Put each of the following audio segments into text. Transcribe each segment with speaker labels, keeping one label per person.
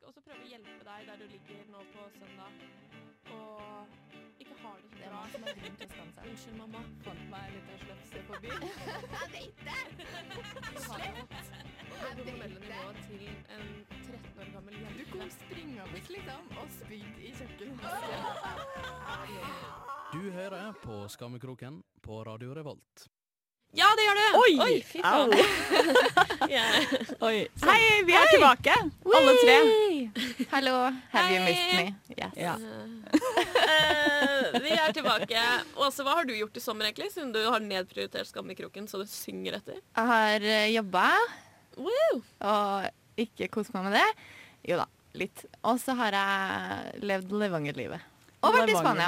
Speaker 1: også prøve å hjelpe deg der du ligger nå på søndag og ikke har det så
Speaker 2: Det er
Speaker 1: bra.
Speaker 2: mange som har grunn til å skamme seg.
Speaker 1: Unnskyld, mamma.
Speaker 3: Fant meg en liten slepse på byen.
Speaker 2: Jeg vet det! Slett! Jeg
Speaker 1: Det
Speaker 2: vet
Speaker 1: hormonelle
Speaker 2: det.
Speaker 1: nivået til en 13 år gammel
Speaker 3: Du
Speaker 1: jente.
Speaker 3: kom springende liksom, og spydde i kjøkkenet.
Speaker 4: Du hører på Skammekroken på Radio Revolt.
Speaker 1: Ja, det gjør du!
Speaker 5: Oi!
Speaker 1: fy faen. Yeah.
Speaker 5: Oi.
Speaker 3: Hei, vi er tilbake! Alle tre.
Speaker 2: Hallo. Have you missed
Speaker 1: Hei.
Speaker 2: me? Yes.
Speaker 5: Ja.
Speaker 1: Eh, vi er tilbake. Åse, hva har du gjort i sommer, egentlig? Siden du har nedprioritert Skammekroken, så du synger etter.
Speaker 2: Jeg har eh, jobba
Speaker 1: Woo!
Speaker 2: og ikke kost meg med det. Jo da, litt. Og så har jeg levd Levanger-livet. Og vært i Spania.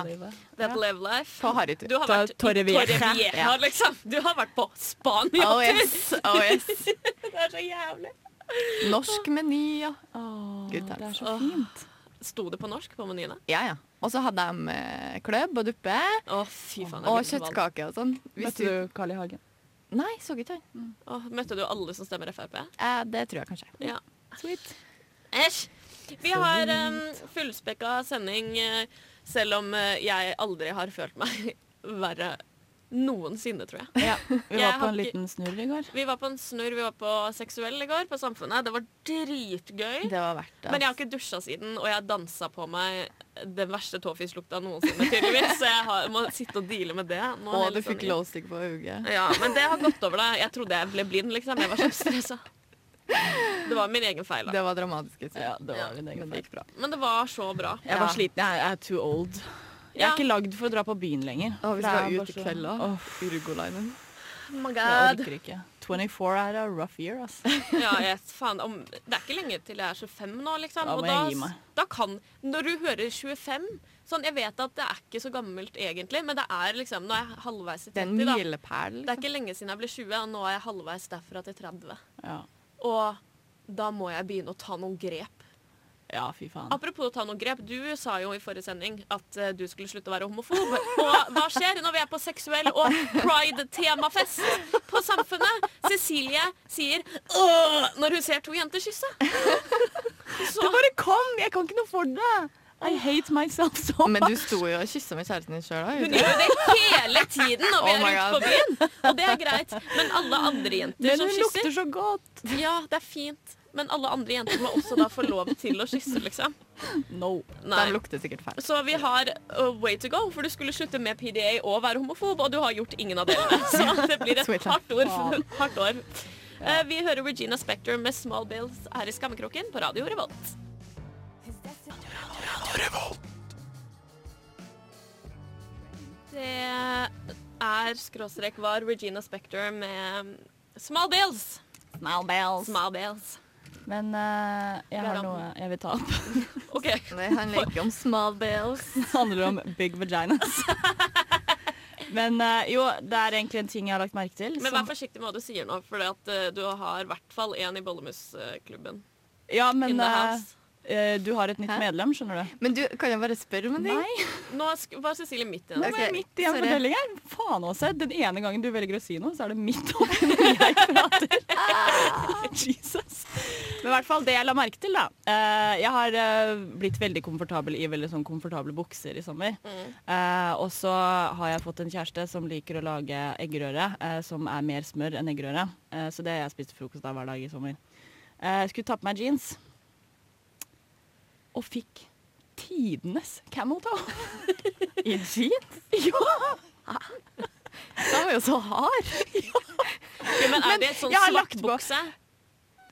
Speaker 1: That live life.
Speaker 2: På harrytur.
Speaker 1: Du har
Speaker 5: Ta-
Speaker 1: vært i
Speaker 5: Torre Vieja.
Speaker 1: Torrevieja,
Speaker 2: Ja.
Speaker 1: liksom. Du har vært på Spania.
Speaker 2: Oh yes, oh yes.
Speaker 1: Det er så jævlig.
Speaker 2: Norsk meny, ja. Gud, takk.
Speaker 5: det er så fint.
Speaker 1: Sto det på norsk på menyene?
Speaker 2: Ja, ja. Og så hadde de eh, kløbb og duppe
Speaker 1: Å, fy faen. jeg
Speaker 2: og
Speaker 1: blir så valm.
Speaker 2: kjøttkake og sånn. Hvis
Speaker 3: Møtte
Speaker 2: du...
Speaker 3: du Carl I. Hagen?
Speaker 2: Nei, så ikke han.
Speaker 1: Å, møtte du alle som stemmer Frp?
Speaker 2: Eh, det tror jeg kanskje.
Speaker 1: Ja.
Speaker 3: Sweet.
Speaker 1: Æsj! Vi har um, fullspekka sending, eh, selv om eh, jeg aldri har følt meg verre noensinne, tror jeg.
Speaker 3: Ja, vi
Speaker 1: Jeg
Speaker 3: var
Speaker 1: har
Speaker 3: på
Speaker 1: ikke-
Speaker 3: en liten snurr i går.
Speaker 1: Vi var på en snurr, vi var på seksuell i går, på Samfunnet. Det var
Speaker 3: Hm?
Speaker 1: dritgøy.
Speaker 2: Det var verdt det.
Speaker 1: Men jeg har ikke dusja siden, og jeg dansa på meg den verste tåfislukta noensinne, tydeligvis. Så jeg har, må sitte og deale med det. nå
Speaker 2: og
Speaker 1: hele
Speaker 2: du fikk
Speaker 1: sendingen.
Speaker 2: glowstick på øyet.
Speaker 1: sånn Ja, men det har gått over, da. Jeg trodde jeg ble blind, liksom. Jeg var så stressa. Det var min egen feil, da.
Speaker 2: Det var dramatisk. jeg tror.
Speaker 3: Ja, det var min egen
Speaker 2: Men det
Speaker 3: feil.
Speaker 2: gikk bra.
Speaker 1: Men det var så bra.
Speaker 3: Jeg var
Speaker 2: Ja.
Speaker 3: sliten. Jeg er- jeg er too old. Jeg
Speaker 1: Ja.
Speaker 3: er ikke lagd for å dra på byen lenger.
Speaker 2: Å, vi
Speaker 3: Det er
Speaker 2: skal ut
Speaker 3: bare
Speaker 2: i
Speaker 3: så-
Speaker 2: kveld òg.
Speaker 3: Åh,
Speaker 2: Urgolinen.
Speaker 3: jeg orker ikke. 24 er a rough year, ass.
Speaker 1: Ja, jeg, faen, om, det er ikke lenge til jeg er 25 nå, liksom.
Speaker 3: Da må
Speaker 1: og
Speaker 3: jeg gi meg.
Speaker 1: da kan Når du hører 25 sånn, Jeg vet at det er ikke så gammelt egentlig, men det er liksom Nå er jeg halvveis i
Speaker 2: Det er en
Speaker 1: 30, da.
Speaker 2: milepæl.
Speaker 1: Det er
Speaker 2: Liksom.
Speaker 1: ikke lenge siden jeg ble 20, og nå er jeg halvveis derfra til 30.
Speaker 3: Ja,
Speaker 1: Og da må jeg begynne å ta noen grep.
Speaker 3: ja fy faen.
Speaker 2: Ah,
Speaker 1: Apropos å ta noen grep, du sa jo i forrige sending at eh, du skulle slutte å være homofob. Og hva skjer når vi er på seksuell og pride-temafest på Samfunnet? Cecilie sier åh når hun ser to jenter kysse. Så
Speaker 3: Du bare kom! Jeg kan ikke noe for det! I hate myself so much.
Speaker 2: Men du sto jo og kyssa med kjæresten din sjøl
Speaker 1: hun
Speaker 2: òg.
Speaker 1: gjør jo det hele tiden når vi
Speaker 2: Oh
Speaker 1: er
Speaker 2: my
Speaker 1: ute på
Speaker 2: God.
Speaker 1: byen. Og det er greit. Men alle andre jenter
Speaker 3: Men
Speaker 1: som
Speaker 3: hun lukter
Speaker 1: kysser
Speaker 3: så godt.
Speaker 1: Ja, det er fint. Men alle andre jenter må også da få lov til å kysse, liksom.
Speaker 3: No.
Speaker 1: Nei.
Speaker 2: De lukter sikkert feil.
Speaker 1: Så vi har a way to go, for du skulle slutte med PDA og være homofob, og du har gjort ingen av delene. Så det blir et
Speaker 2: Sweet
Speaker 1: hardt år. Hardt år. Eh, Vi hører Regina Spektor med Small Bills her i Skammekroken på Radio Revolt. Det er skråstrek var Regina Spektor med Small Bills.
Speaker 3: Smile bells.
Speaker 1: Small Bills.
Speaker 3: Men eh, jeg har noe jeg vil ta opp.
Speaker 1: OK.
Speaker 2: Det handler ikke om small bells.
Speaker 3: Det handler om big vaginas. Men eh, jo, det er egentlig en ting jeg har lagt merke til.
Speaker 1: Men
Speaker 3: som-
Speaker 1: vær forsiktig med hva du sier nå, for at, eh, du har i hvert fall én i Bollemusklubben.
Speaker 3: ja,
Speaker 1: In
Speaker 3: men
Speaker 1: the
Speaker 3: eh,
Speaker 1: house.
Speaker 3: eh, du har et nytt
Speaker 2: Hæ?
Speaker 3: medlem, skjønner du.
Speaker 2: Men du, kan jeg bare spørre om en ting?
Speaker 1: Nå sk- var Cecilie midt i
Speaker 3: Nå
Speaker 1: det.
Speaker 2: Ok,
Speaker 3: er jeg midt i en
Speaker 2: sorry.
Speaker 3: fortelling her. Faen også, den ene gangen du velger å si noe, så er det midt oppi når jeg
Speaker 2: Ah!
Speaker 3: prater. Jesus. Men i hvert fall det jeg la merke til, da. Eh, jeg har eh, blitt veldig komfortabel i veldig sånn komfortable bukser i sommer.
Speaker 2: Mm.
Speaker 3: Eh, og så har jeg fått en kjæreste som liker å lage eggerøre, eh, som er mer smør enn eggerøre. Eh, så det har jeg spist frokost av hver dag i sommer. Eh, jeg skulle ta på meg jeans, og fikk tidenes camel toe.
Speaker 2: I jeans?
Speaker 3: Ja!
Speaker 2: Den var jo så hard.
Speaker 1: Ja, men er det sånn
Speaker 3: jeg har
Speaker 1: svart
Speaker 3: lagt på-
Speaker 1: bukse?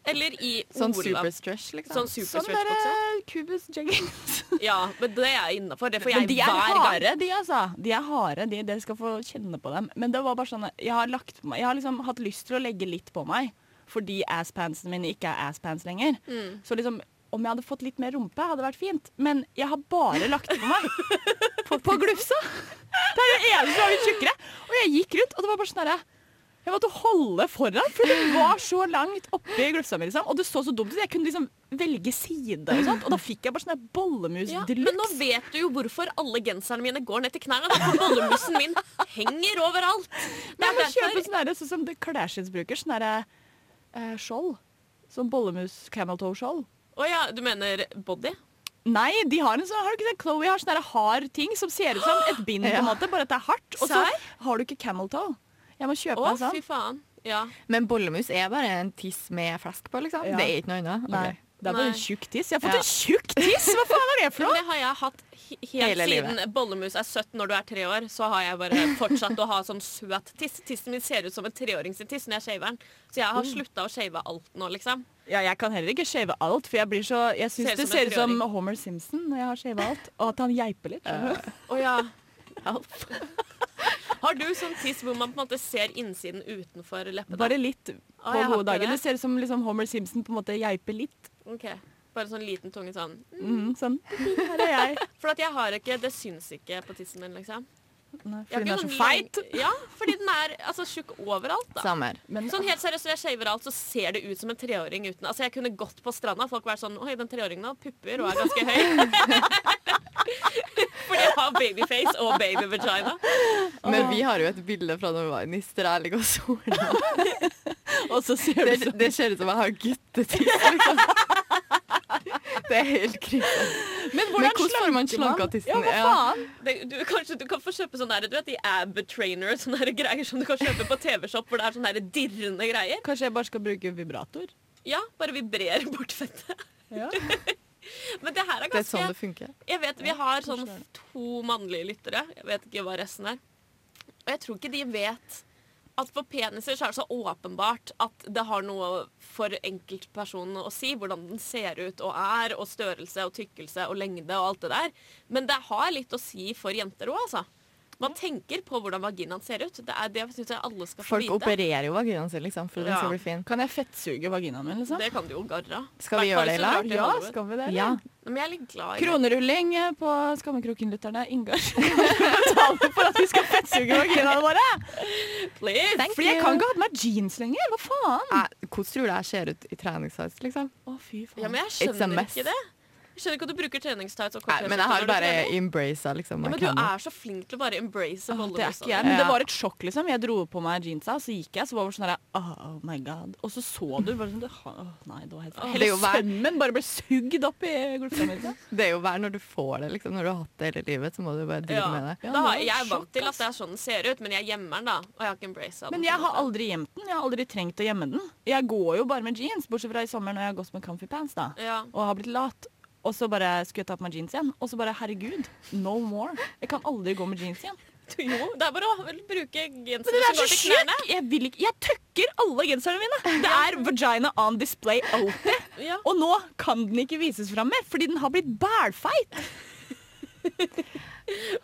Speaker 1: Eller i
Speaker 2: Sånn
Speaker 1: Olav?
Speaker 2: superstretch, liksom.
Speaker 1: Sånn
Speaker 3: Sånn derre
Speaker 1: superstretch-bukse?
Speaker 3: Cubus jeggings.
Speaker 1: Ja, men det er innafor. Det får
Speaker 3: Men
Speaker 1: jeg
Speaker 3: de er
Speaker 1: hver gang.
Speaker 3: harde, de altså. De er harde, de, dere skal få kjenne på dem. Men det var bare sånn Jeg har, lagt, på meg- jeg har liksom hatt lyst til å legge litt på meg fordi asspantsene mine ikke er asspants lenger.
Speaker 1: Mm.
Speaker 3: Så liksom om jeg hadde fått litt mer rumpe, hadde det vært fint. Men jeg har bare lagt på meg på, på glufsa. Det er det eneste som har blitt tjukkere. Og jeg gikk rundt, og det var bare sånn herre Jeg måtte holde foran, for det var så langt oppi glufsa mi, liksom. Og det så så dumt ut. Jeg kunne liksom velge side og sånt. Og da fikk jeg bare sånn her bollemus
Speaker 1: Ja,
Speaker 3: ja,
Speaker 1: men nå vet du jo hvorfor alle genserne mine går ned til knærne. Det er for bollemussen min henger overalt. Det
Speaker 3: Jeg
Speaker 1: er
Speaker 3: må kjøpe
Speaker 1: derfor
Speaker 3: sånn der, sånn som det klærskinnbruker, sånn der eh, skjold. Sånn bollemus camel toe skjold.
Speaker 1: Å ja, du mener body?
Speaker 3: Nei, de har en sånn, har du ikke sett Chloé har sånne der hard ting som ser ut som et bind, på en måte, bare at det er hardt. Og så
Speaker 1: Serr?
Speaker 3: har du ikke camel toe. Jeg må kjøpe
Speaker 1: Å,
Speaker 3: en sånn.
Speaker 1: fy faen. Ja.
Speaker 2: Men bollemus er bare en tiss med flask på, liksom.
Speaker 3: Ja.
Speaker 2: Det er ikke noe annet.
Speaker 3: Nei.
Speaker 2: Ok.
Speaker 3: Det er bare en
Speaker 1: Nei.
Speaker 3: tjukk tiss. Jeg har fått
Speaker 2: Ja.
Speaker 3: en tjukk tiss! Hva faen er det for
Speaker 1: Men
Speaker 3: noe?
Speaker 1: det har jeg hatt he- helt
Speaker 2: Hele
Speaker 1: siden bollemus er søtt når du er tre år. Så har jeg bare fortsatt å ha sånn søt tiss. Tissen min ser ut som en treåring sin tiss når jeg shaver den. Så jeg
Speaker 3: Mm.
Speaker 1: har slutta å shave alt nå, liksom.
Speaker 3: Ja, jeg kan heller ikke shave alt, for jeg blir så Jeg syns
Speaker 1: Ser ut
Speaker 3: det
Speaker 1: som en
Speaker 3: ser ut som
Speaker 1: treåring.
Speaker 3: Homer Simpson når jeg har shava alt, og at han geiper litt. skjønner du?
Speaker 1: Å ja. Har du sånn tiss hvor man på en måte ser innsiden utenfor leppene?
Speaker 3: Bare litt på
Speaker 1: jeg har
Speaker 3: gode
Speaker 1: ikke
Speaker 3: dager.
Speaker 1: det.
Speaker 3: Det ser ut som liksom Homer Simpson på en måte geiper litt.
Speaker 1: Ok. Bare sånn liten tunge sånn.
Speaker 3: Mm, sånn. Her er jeg.
Speaker 1: For at jeg har ikke Det syns ikke på tissen min, liksom.
Speaker 3: Nei,
Speaker 1: Jeg
Speaker 3: fordi den
Speaker 1: har ikke
Speaker 3: er så
Speaker 1: sånn
Speaker 3: feit.
Speaker 1: lang- Ja, fordi den er altså tjukk overalt, da.
Speaker 2: Samme her.
Speaker 3: Men
Speaker 1: Sånn helt seriøst, når jeg shaver alt, så ser det ut som en treåring uten Altså, jeg kunne gått på stranda, folk vært sånn Oi, den treåringen har pupper og er ganske høy. Fordi jeg har babyface og babyvagina.
Speaker 2: Men vi har jo et bilde fra da vi var i Nister, jeg ligger og soler.
Speaker 3: Og så ser du sånn,
Speaker 2: Det, det ser ut som jeg har guttetiss, liksom. Det er helt krise.
Speaker 3: Men
Speaker 2: hvordan slanker man?
Speaker 3: Ja, hva
Speaker 2: Ja.
Speaker 3: faen?
Speaker 1: Det, du, kanskje du kan få kjøpe sånne der, du vet, de ab trainer, sånne der greier som du kan kjøpe på TV-shop hvor det er sånne der dirrende greier.
Speaker 3: Kanskje jeg bare skal bruke vibrator?
Speaker 1: Ja, bare vibrerer bort fettet.
Speaker 3: Ja.
Speaker 1: Men det her er
Speaker 2: Det er
Speaker 1: ganske
Speaker 2: sånn det funker.
Speaker 1: Jeg vet vi har sånn
Speaker 3: forstår det.
Speaker 1: to mannlige lyttere. Jeg vet ikke hva resten er. Og jeg tror ikke de vet at for peniser så er det så åpenbart at det har noe for enkeltpersonen å si. Hvordan den ser ut og er, og størrelse og tykkelse og lengde og alt det der. Men det har litt å si for jenter òg, altså. Man tenker på hvordan vaginaen ser ut. Det er det syns jeg alle skal få
Speaker 2: Folk
Speaker 1: vite.
Speaker 2: opererer jo vaginaen sin, liksom, for den
Speaker 1: Ja.
Speaker 2: skal bli fin.
Speaker 3: Kan jeg fettssuge vaginaen min, liksom?
Speaker 1: Det kan du jo garra.
Speaker 2: Skal
Speaker 1: Hvertfall
Speaker 2: vi gjøre det
Speaker 1: hvis
Speaker 2: i
Speaker 1: du
Speaker 2: lag?
Speaker 1: drar til
Speaker 3: Ja,
Speaker 1: Hollywood.
Speaker 3: skal vi det? eller?
Speaker 2: Ja.
Speaker 1: Men jeg er litt glad i det.
Speaker 3: Kronerulling eh, på Skammekroken-lytterne. Ingar skal betale for at vi skal fettsuge vaginaene våre!
Speaker 1: Please!
Speaker 2: Thank
Speaker 3: Fordi jeg
Speaker 2: you.
Speaker 3: kan ikke ha på meg jeans lenger! Hva faen?
Speaker 2: Jeg- Hvordan tror du jeg ser ut i treningssize, liksom?
Speaker 3: Å, fy faen.
Speaker 1: Ja, men jeg
Speaker 2: It's a
Speaker 1: skjønner
Speaker 2: mess.
Speaker 1: ikke det. Jeg skjønner ikke at du bruker treningstights og kort
Speaker 2: Nei, men jeg
Speaker 1: T-skjorte
Speaker 2: har
Speaker 1: når du
Speaker 2: bare
Speaker 1: trener.
Speaker 2: embraced liksom.
Speaker 1: Ja,
Speaker 2: I
Speaker 1: men du
Speaker 2: can.
Speaker 1: er så flink til å bare embrace
Speaker 3: Åh,
Speaker 1: bollemus.
Speaker 3: det er ikke
Speaker 1: altså.
Speaker 3: jeg, men det
Speaker 2: Ja.
Speaker 3: var et sjokk, liksom. Jeg dro på meg jeansa, så gikk jeg, så var det sånn der oh, oh my god. Og så så du bare sånn det- Åh, Nei, det var helt feil.
Speaker 2: Det er jo
Speaker 3: Hele
Speaker 2: hver-
Speaker 3: sømmen bare ble sugd opp i gulvfamilien.
Speaker 2: Det er jo verre når du får det, liksom. Når du har hatt det hele livet, så må du bare drive
Speaker 1: Ja.
Speaker 2: med det.
Speaker 1: Da
Speaker 3: Ja, det var
Speaker 1: har jeg er
Speaker 3: sjokk,
Speaker 1: vant til at
Speaker 3: ass.
Speaker 1: det er sånn den ser ut, men jeg gjemmer den da. Og jeg har ikke embracet den.
Speaker 3: Men jeg har aldri gjemt den. Jeg har aldri trengt å gjemme den. Jeg går jo bare med jeans, bortsett fra i sommer når jeg har gått med comfy pants, da.
Speaker 1: ja.
Speaker 3: Og har blitt lat. Og så bare skulle jeg ta på meg jeans igjen. Og så bare herregud, no more. Jeg kan aldri gå med jeans igjen.
Speaker 1: Jo, det er bare å bruke genseren
Speaker 3: Men den
Speaker 1: som
Speaker 3: er så
Speaker 1: går til
Speaker 3: sjuk!
Speaker 1: knærne.
Speaker 3: Jeg vil ikke Jeg tøkker alle genserne mine! Det er vagina on display alltid.
Speaker 1: Ja.
Speaker 3: Og nå kan den ikke vises fram mer, fordi den har blitt bælfeit.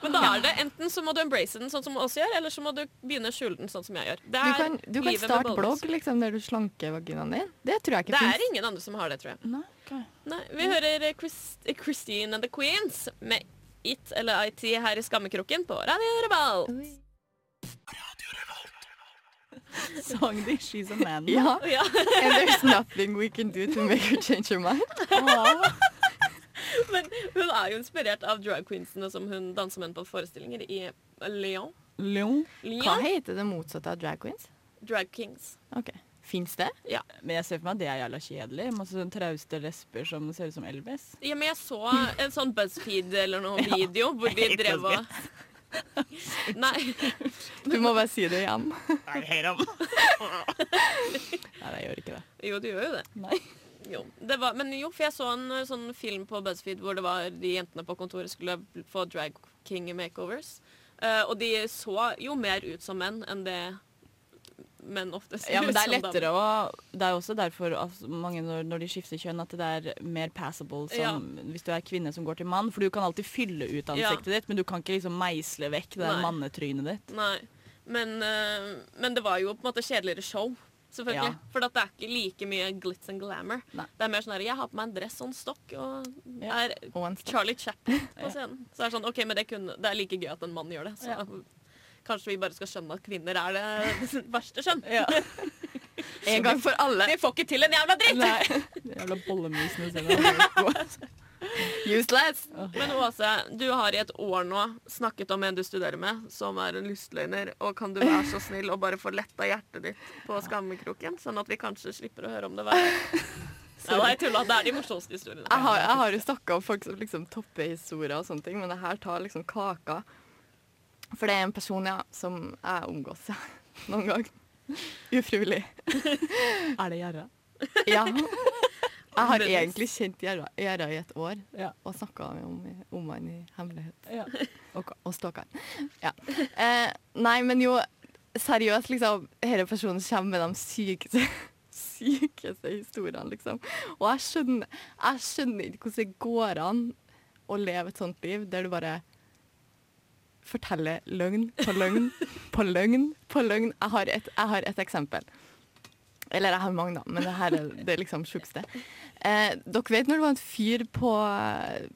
Speaker 1: Men da er det enten så må du embrace den sånn som oss gjør, eller så må du begynne å skjule den sånn som jeg gjør. Det
Speaker 2: Du
Speaker 1: er
Speaker 2: kan, du kan
Speaker 1: livet med
Speaker 2: starte
Speaker 1: bollemus.
Speaker 2: blogg liksom, der du slanker vaginaen din. Det tror jeg ikke
Speaker 1: Det er
Speaker 2: fins.
Speaker 1: ingen andre som har det, tror jeg.
Speaker 3: Nei,
Speaker 1: Nei, vi hører eh, Chris, eh, Christine and the Queens med It eller IT her i skammekroken på Radio Revolt.
Speaker 3: Sang de She's a Man.
Speaker 2: Ja.
Speaker 1: Ja.
Speaker 2: And there's nothing we can do to make her change her mind.
Speaker 3: Åh.
Speaker 1: Men hun er jo inspirert av drag queensene som hun danser med på forestillinger i Lyon.
Speaker 3: Leon.
Speaker 2: Hva
Speaker 1: Lyon?
Speaker 2: heter det motsatte av drag queens?
Speaker 1: Drag kings.
Speaker 2: Ok. Fins det?
Speaker 3: Men jeg ser for meg at det er jævla kjedelig. Masse sånn trauste lesber som ser ut som Elvis.
Speaker 1: Ja, men jeg så en sånn BuzzFeed eller noe video hvor de
Speaker 3: hate
Speaker 1: drev og Nei.
Speaker 2: Du må bare si det igjen.
Speaker 3: Nei, hate ham. Nei, jeg gjør ikke det.
Speaker 1: Jo, du gjør jo det.
Speaker 3: Nei.
Speaker 1: Jo. det var, men jo, for jeg så en eh, sånn film på BuzzFeed hvor det var de jentene på kontoret skulle få drag king makeovers. Eh, og de så jo mer ut som menn enn det menn ofte ser
Speaker 3: Ja,
Speaker 1: ut
Speaker 3: men det er
Speaker 1: som damer.
Speaker 3: lettere å Det er jo også derfor at mange når, når de skifter kjønn, at det er mer passable som hvis du er kvinne som går til mann. For du kan alltid fylle ut ansiktet ditt, men du kan ikke liksom meisle vekk det der
Speaker 1: Nei.
Speaker 3: mannetrynet ditt.
Speaker 1: Nei, men, eh, men det var jo på en måte kjedeligere show. Selvfølgelig.
Speaker 3: Ja.
Speaker 1: For at det er ikke like mye glitz and glamour.
Speaker 3: Nei.
Speaker 1: Det er mer sånn her, Jeg har på meg en dress og en stokk og
Speaker 3: Ja.
Speaker 1: er
Speaker 2: Og en stokk.
Speaker 1: Charlie Chaplin på scenen. Så er det sånn, ok, men det, kunne, det er like gøy at en mann gjør det. Så
Speaker 3: Ja.
Speaker 1: kanskje vi bare skal skjønne at kvinner er det verste skjønn.
Speaker 3: Ja.
Speaker 2: En gang for alle.
Speaker 1: De får ikke til en jævla dritt!
Speaker 3: Nei. De jævla bollemusene sine.
Speaker 2: Useless.
Speaker 1: Men Åse, du har i et år nå snakket om en du studerer med, som er en lystløgner. Og kan du være så snill og bare få letta hjertet ditt på skammekroken, sånn at vi kanskje slipper å høre om det hver Nei, nei,
Speaker 2: historier.
Speaker 1: jeg tulla. Det er de morsomste historiene.
Speaker 2: Jeg har, jeg har jo snakka om folk som liksom topper historier og sånne ting, men det her tar liksom kaka. For det er en person ja, som jeg omgås ja, noen gang. Ufrivillig.
Speaker 3: Er det gjerra?
Speaker 2: Ja. Jeg har egentlig kjent Gjerra Gjerra i et år
Speaker 3: Ja.
Speaker 2: og snakka om, om han i hemmelighet.
Speaker 3: ja.
Speaker 2: og stalkeren. Ja. Eh, nei, men jo, seriøst, liksom. Denne personen kommer med de sykeste, sykeste historiene, liksom. Og jeg skjønner, jeg skjønner ikke hvordan det går an å leve et sånt liv der du bare forteller løgn på løgn på løgn på løgn. Jeg har et, jeg har et eksempel. Eller jeg har mange, da, men det her er det liksom sjukeste. Eh, dere vet når det var en fyr på,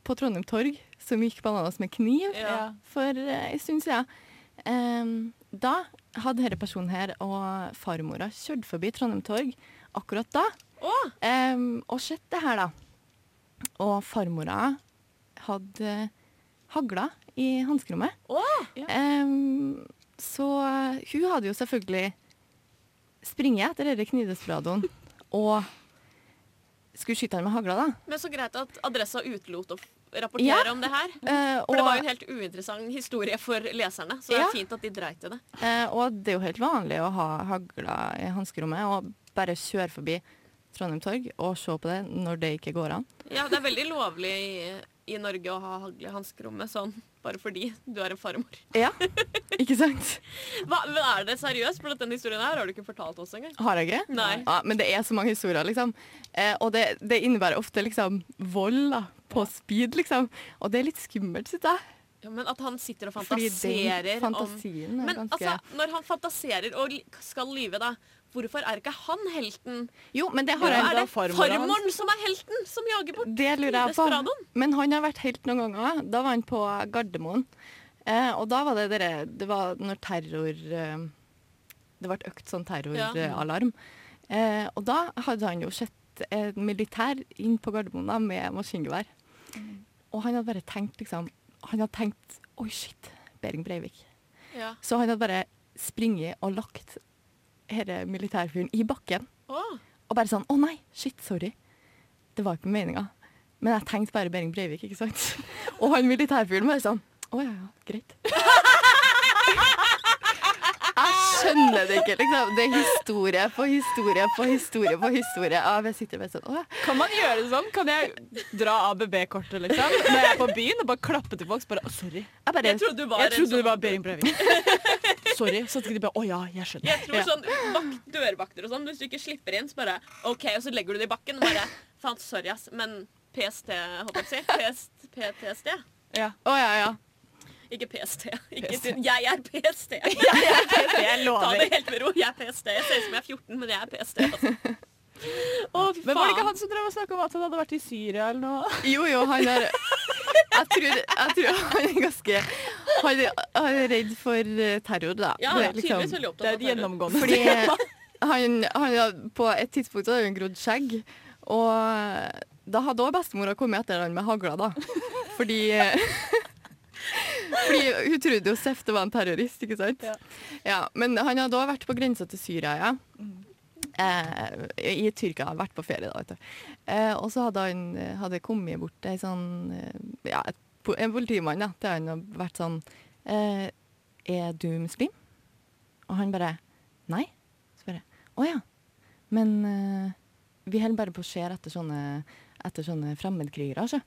Speaker 2: på Trondheim torg som gikk bananas med kniv?
Speaker 1: Ja.
Speaker 2: for eh, en stund siden. Em, da hadde denne personen her og farmora kjørt forbi Trondheim torg akkurat da.
Speaker 1: Å,
Speaker 2: em, og sett det her, da. Og farmora hadde eh, hagla i hanskerommet.
Speaker 1: å!
Speaker 2: Em, så hun hadde jo selvfølgelig springet etter denne knivdesperadoen og skulle skyte han med hagla, da.
Speaker 1: Men så greit at adressa utelot å f- rapportere om det her.
Speaker 2: Eh,
Speaker 1: Mhm. For det
Speaker 2: og-
Speaker 1: var jo en helt uinteressant historie for leserne, så det er
Speaker 2: Ja.
Speaker 1: fint at de dreit i det.
Speaker 2: Eh, og det er jo helt vanlig å ha hagla i hanskerommet og bare kjøre forbi Trondheim torg og se på det når det ikke går an.
Speaker 1: Ja, det er veldig lovlig i, i Norge å ha hagle i hanskerommet sånn, bare fordi du er en farmor.
Speaker 2: Ja, ikke sant?
Speaker 1: Hva, men er det seriøst? For at den historien her har du ikke fortalt oss engang.
Speaker 2: Har jeg ikke?
Speaker 1: Nei.
Speaker 2: Ja, men det er så mange historier, liksom. Eh, og det, det innebærer ofte liksom vold da, på speed, liksom. Og det er litt skummelt, syns jeg.
Speaker 1: Ja, men at han sitter og
Speaker 2: Fordi
Speaker 1: fantaserer
Speaker 2: den fantasien
Speaker 1: om
Speaker 2: er
Speaker 1: Men
Speaker 2: ganske
Speaker 1: altså, når han fantaserer og li- skal lyve, da, hvorfor er ikke han helten?
Speaker 2: Jo, men det har
Speaker 1: Hvorfor
Speaker 3: Ja,
Speaker 2: jeg
Speaker 1: er det
Speaker 3: farmor hans.
Speaker 1: farmoren som er helten, som jager bort?
Speaker 2: Det lurer jeg på.
Speaker 1: Desperadoen?
Speaker 2: Men han har vært helt noen ganger. Da var han på Gardermoen. Eh, og da var det dere, det var når terror eh, Det ble økt sånn
Speaker 1: Ja.
Speaker 2: terroralarm. Eh, og da hadde han jo sett en militær inn på Gardermoen da, med maskingevær. Og han hadde bare tenkt liksom Han hadde tenkt Oi, shit. Behring Breivik.
Speaker 1: Ja.
Speaker 2: Så han hadde bare springet og lagt denne militærfyren i bakken.
Speaker 1: Å,
Speaker 2: Og bare sånn Å nei, shit, sorry. Det var ikke meninga. Men jeg tenkte bare Behring Breivik, ikke sant? Og han militærfuglen bare sånn Å ja, ja, greit. Jeg skjønner det ikke, liksom. Det er historie på historie på historie på historie. Og jeg sitter bare sånn Å ja.
Speaker 3: Kan man gjøre det sånn? Kan jeg dra ABB-kortet, liksom? Når jeg er på byen og bare klappe til folk? så Bare, «Å, Sorry.
Speaker 2: Jeg bare
Speaker 1: jeg trodde du var
Speaker 3: Jeg
Speaker 1: en
Speaker 3: trodde
Speaker 1: sånn-
Speaker 3: det var Behring Breivik. Sorry. Så tenkte de bare Å ja, jeg skjønner.
Speaker 1: Jeg tror sånn vakt, dørvakter og sånn, hvis du ikke slipper inn, så bare OK, og så legger du det i bakken og bare Faen, sorry, ass, men PST, holdt jeg på å si. PST, PTSD.
Speaker 3: Ja.
Speaker 2: Å ja, ja.
Speaker 1: Ikke PST. Ikke
Speaker 3: PST.
Speaker 1: til- Jeg er PST.
Speaker 3: Jeg
Speaker 1: Ta
Speaker 3: lover.
Speaker 1: det helt med ro. Jeg er PST. Jeg ser ut som jeg er 14, men jeg er PST. Altså. Å, fy faen.
Speaker 3: Men var det ikke han som drev og snakka om at han hadde vært i Syria eller noe?
Speaker 2: Jo, jo, han er jeg tror, jeg tror han er ganske Han er, han er redd for eh, terror, da.
Speaker 1: Ja,
Speaker 2: Det er liksom-
Speaker 1: tydeligvis veldig
Speaker 3: Det
Speaker 1: opptatt
Speaker 3: er
Speaker 1: av
Speaker 3: et
Speaker 1: terror.
Speaker 3: gjennomgående
Speaker 2: Fordi han, han hadde, på et tidspunkt hadde han grodd skjegg, og da hadde også bestemora kommet etter han med hagla, da. Fordi, fordi hun trodde jo Seff det var en terrorist, ikke sant?
Speaker 3: Ja.
Speaker 2: Ja, men han hadde også vært på grensa til Syria, ja. Eh, I Tyrkia, hadde vært på ferie da, vet du. Eh, og så hadde han hadde kommet bort ei sånn, eh, ja, et, po- en politimann da, til han hadde vært sånn, eh, er du muslim? Og han bare Nei. Så bare Å ja. Men eh, vi holder bare på å se etter sånne, etter sånne fremmedkrigere, altså.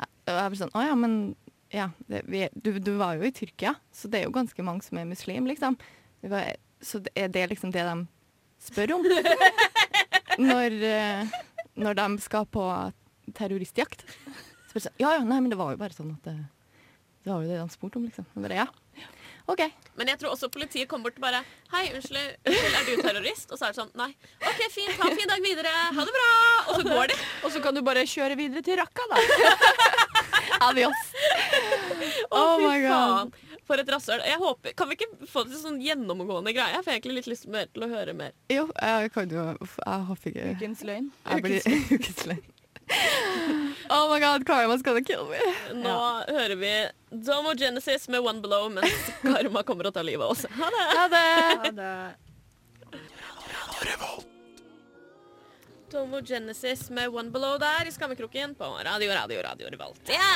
Speaker 2: Jeg, og jeg blir sånn Å ja, men ja, det, vi, du, du var jo i Tyrkia, så det er jo ganske mange som er muslim, liksom. Det var, så det, er det liksom det de spør om? når, eh, når de skal på terroristjakt? Så bare sånn Ja ja, nei, men det var jo bare sånn at det, det var jo det de spurte om, liksom. Jeg bare, ja. OK.
Speaker 1: Men jeg tror også politiet kommer bort og bare Hei, unnskyld, unnskyld, er du terrorist? Og så er det sånn Nei. OK, fint. Ha en fin dag videre. Ha det bra. Og så går de.
Speaker 3: Og så kan du bare kjøre videre til Raqqa, da.
Speaker 2: Adios. Oh my god.
Speaker 1: Faen. For et rasshøl. Jeg håper Kan vi ikke få til sånn gjennomgående greie? Jeg får egentlig litt lyst mer til å høre mer.
Speaker 2: Jo, jeg kan jo uff, Jeg håper ikke jeg
Speaker 3: Ukens løgn.
Speaker 2: blir ukesløgn. Oh my god, Karma skal kill me.
Speaker 1: Nå hører vi Domo Genesis med One Blow mens Karma kommer og tar livet av oss. Ha det!
Speaker 2: Ha det.
Speaker 3: det.
Speaker 1: Tomo Genesis med One Below der i skammekroken på Radio Radio Radio Revolt. Ja!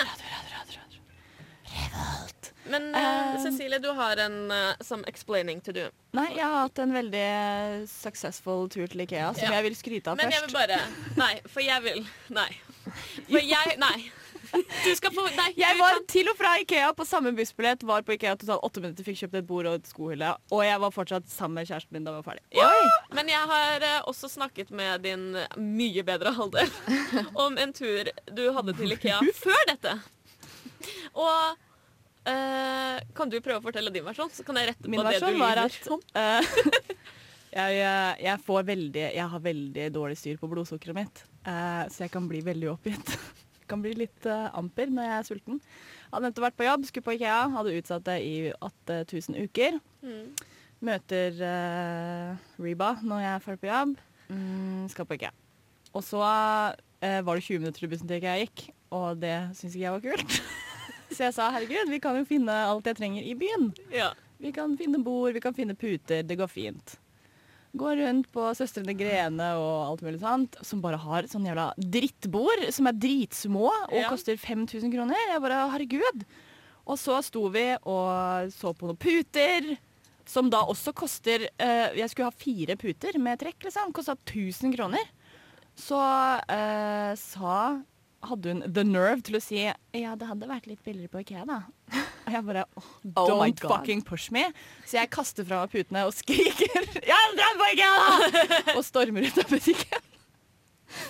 Speaker 1: Men eh,
Speaker 3: Um,
Speaker 1: Cecilie, du har en eh, some explaining to do.
Speaker 3: Nei, jeg har hatt en veldig eh, successful tur til Ikea, som
Speaker 1: Ja.
Speaker 3: jeg vil skryte av
Speaker 1: Men jeg
Speaker 3: først.
Speaker 1: vil bare Nei, for jeg vil Nei. For jeg Nei. Du skal få Nei.
Speaker 3: Jeg
Speaker 1: du
Speaker 3: var
Speaker 1: kan-
Speaker 3: til og fra Ikea på samme bussbillett, var på Ikea totalt åtte minutter, fikk kjøpt et bord og et skohylle, og jeg var fortsatt sammen med kjæresten min da vi var ferdig.
Speaker 1: Men jeg har eh, også snakket med din eh, mye bedre halvdel om en tur du hadde til Ikea før dette. Og eh, kan du prøve å fortelle din versjon, så kan jeg rette
Speaker 3: Min
Speaker 1: på det du
Speaker 3: versjon var
Speaker 1: lyver
Speaker 3: at
Speaker 1: om?
Speaker 3: eh, jeg, jeg, jeg får veldig Jeg har veldig dårlig styr på blodsukkeret mitt, eh, så jeg kan bli veldig oppgitt. Kan bli litt eh, amper når jeg er sulten. Hadde nettopp vært på jobb, skulle på Ikea, hadde utsatt det i 8000 uker.
Speaker 1: Mm.
Speaker 3: Møter eh, Reba når jeg er ferdig på jobb. Mm, skal på Ikea. Og så eh, var det 20 minutter til bussen til Ikea gikk, og det syns ikke jeg var kult. Så jeg sa herregud, vi kan jo finne alt jeg trenger i byen.
Speaker 1: Ja.
Speaker 3: Vi kan finne bord, vi kan finne puter, det går fint. Går rundt på Søstrene Grene og alt mulig sånt, som bare har sånn jævla drittbord, som er dritsmå og
Speaker 1: Ja.
Speaker 3: koster 5000 kroner. Jeg bare, herregud. Og så sto vi og så på noen puter, som da også koster eh, Jeg skulle ha fire puter med trekk, liksom. Kosta 1000 kroner. Så eh, sa Hadde hun the nerve til å si Ja, det hadde vært litt billigere på Ikea, da. Og jeg bare oh,
Speaker 2: Oh my
Speaker 3: Don't
Speaker 2: God.
Speaker 3: fucking push me. Så jeg kaster fra meg putene og skriker Ja, dra på Ikea, da! Og stormer ut av butikken.